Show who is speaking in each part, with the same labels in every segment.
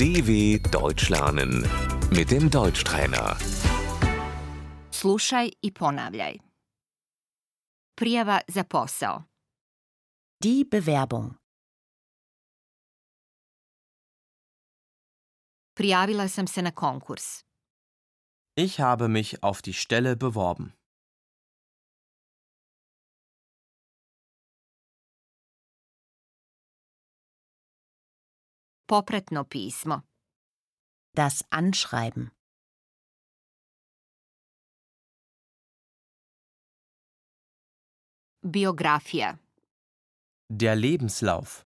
Speaker 1: DW Deutsch lernen mit dem Deutschtrainer.
Speaker 2: Slušaj i ponavljaj. Prijava za posao.
Speaker 3: Die Bewerbung.
Speaker 2: Prijavila sam se na konkurs.
Speaker 4: Ich habe mich auf die Stelle beworben.
Speaker 2: Popratno pismo.
Speaker 3: Das Anschreiben.
Speaker 2: Biografija.
Speaker 4: Der Lebenslauf.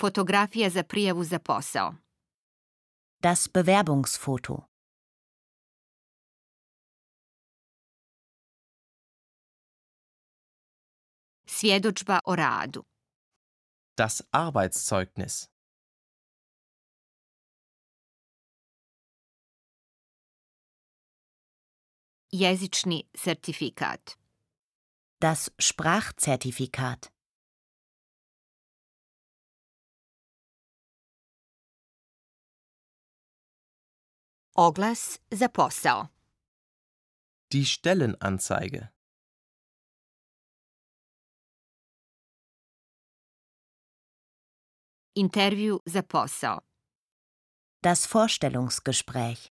Speaker 2: Fotografija za prijavu za posao.
Speaker 3: Das Bewerbungsfoto.
Speaker 2: Svjedočba o radu.
Speaker 4: Das Arbeitszeugnis.
Speaker 2: Jezični certifikat.
Speaker 3: Das Sprachzertifikat.
Speaker 2: Oglas za posao.
Speaker 4: Die Stellenanzeige.
Speaker 2: Intervju za posao.
Speaker 3: Das Vorstellungsgespräch.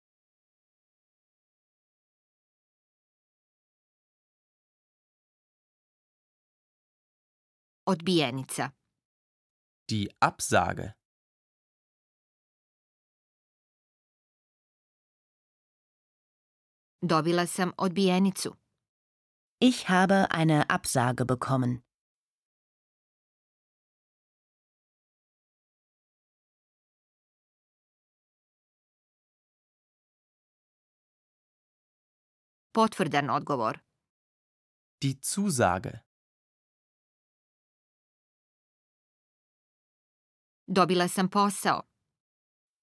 Speaker 2: Odbijenica.
Speaker 4: Die Absage.
Speaker 2: Dobila sam odbijenicu.
Speaker 3: Ich habe eine Absage bekommen.
Speaker 2: Potvrdan odgovor.
Speaker 4: Die Zusage.
Speaker 2: Dobila sam posao.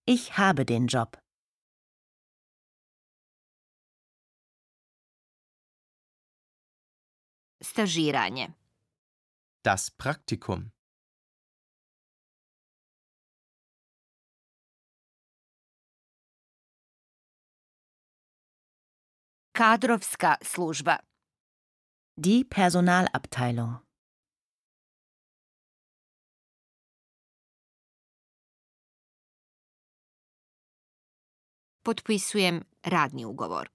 Speaker 3: Ich habe den Job.
Speaker 2: Stažiranje.
Speaker 4: Das Praktikum.
Speaker 2: Kadrovska služba.
Speaker 3: Die Personalabteilung.
Speaker 2: Potpisujem radni ugovor.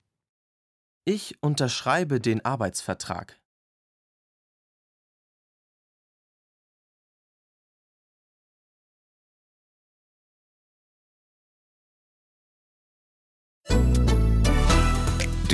Speaker 4: Ich unterschreibe den Arbeitsvertrag.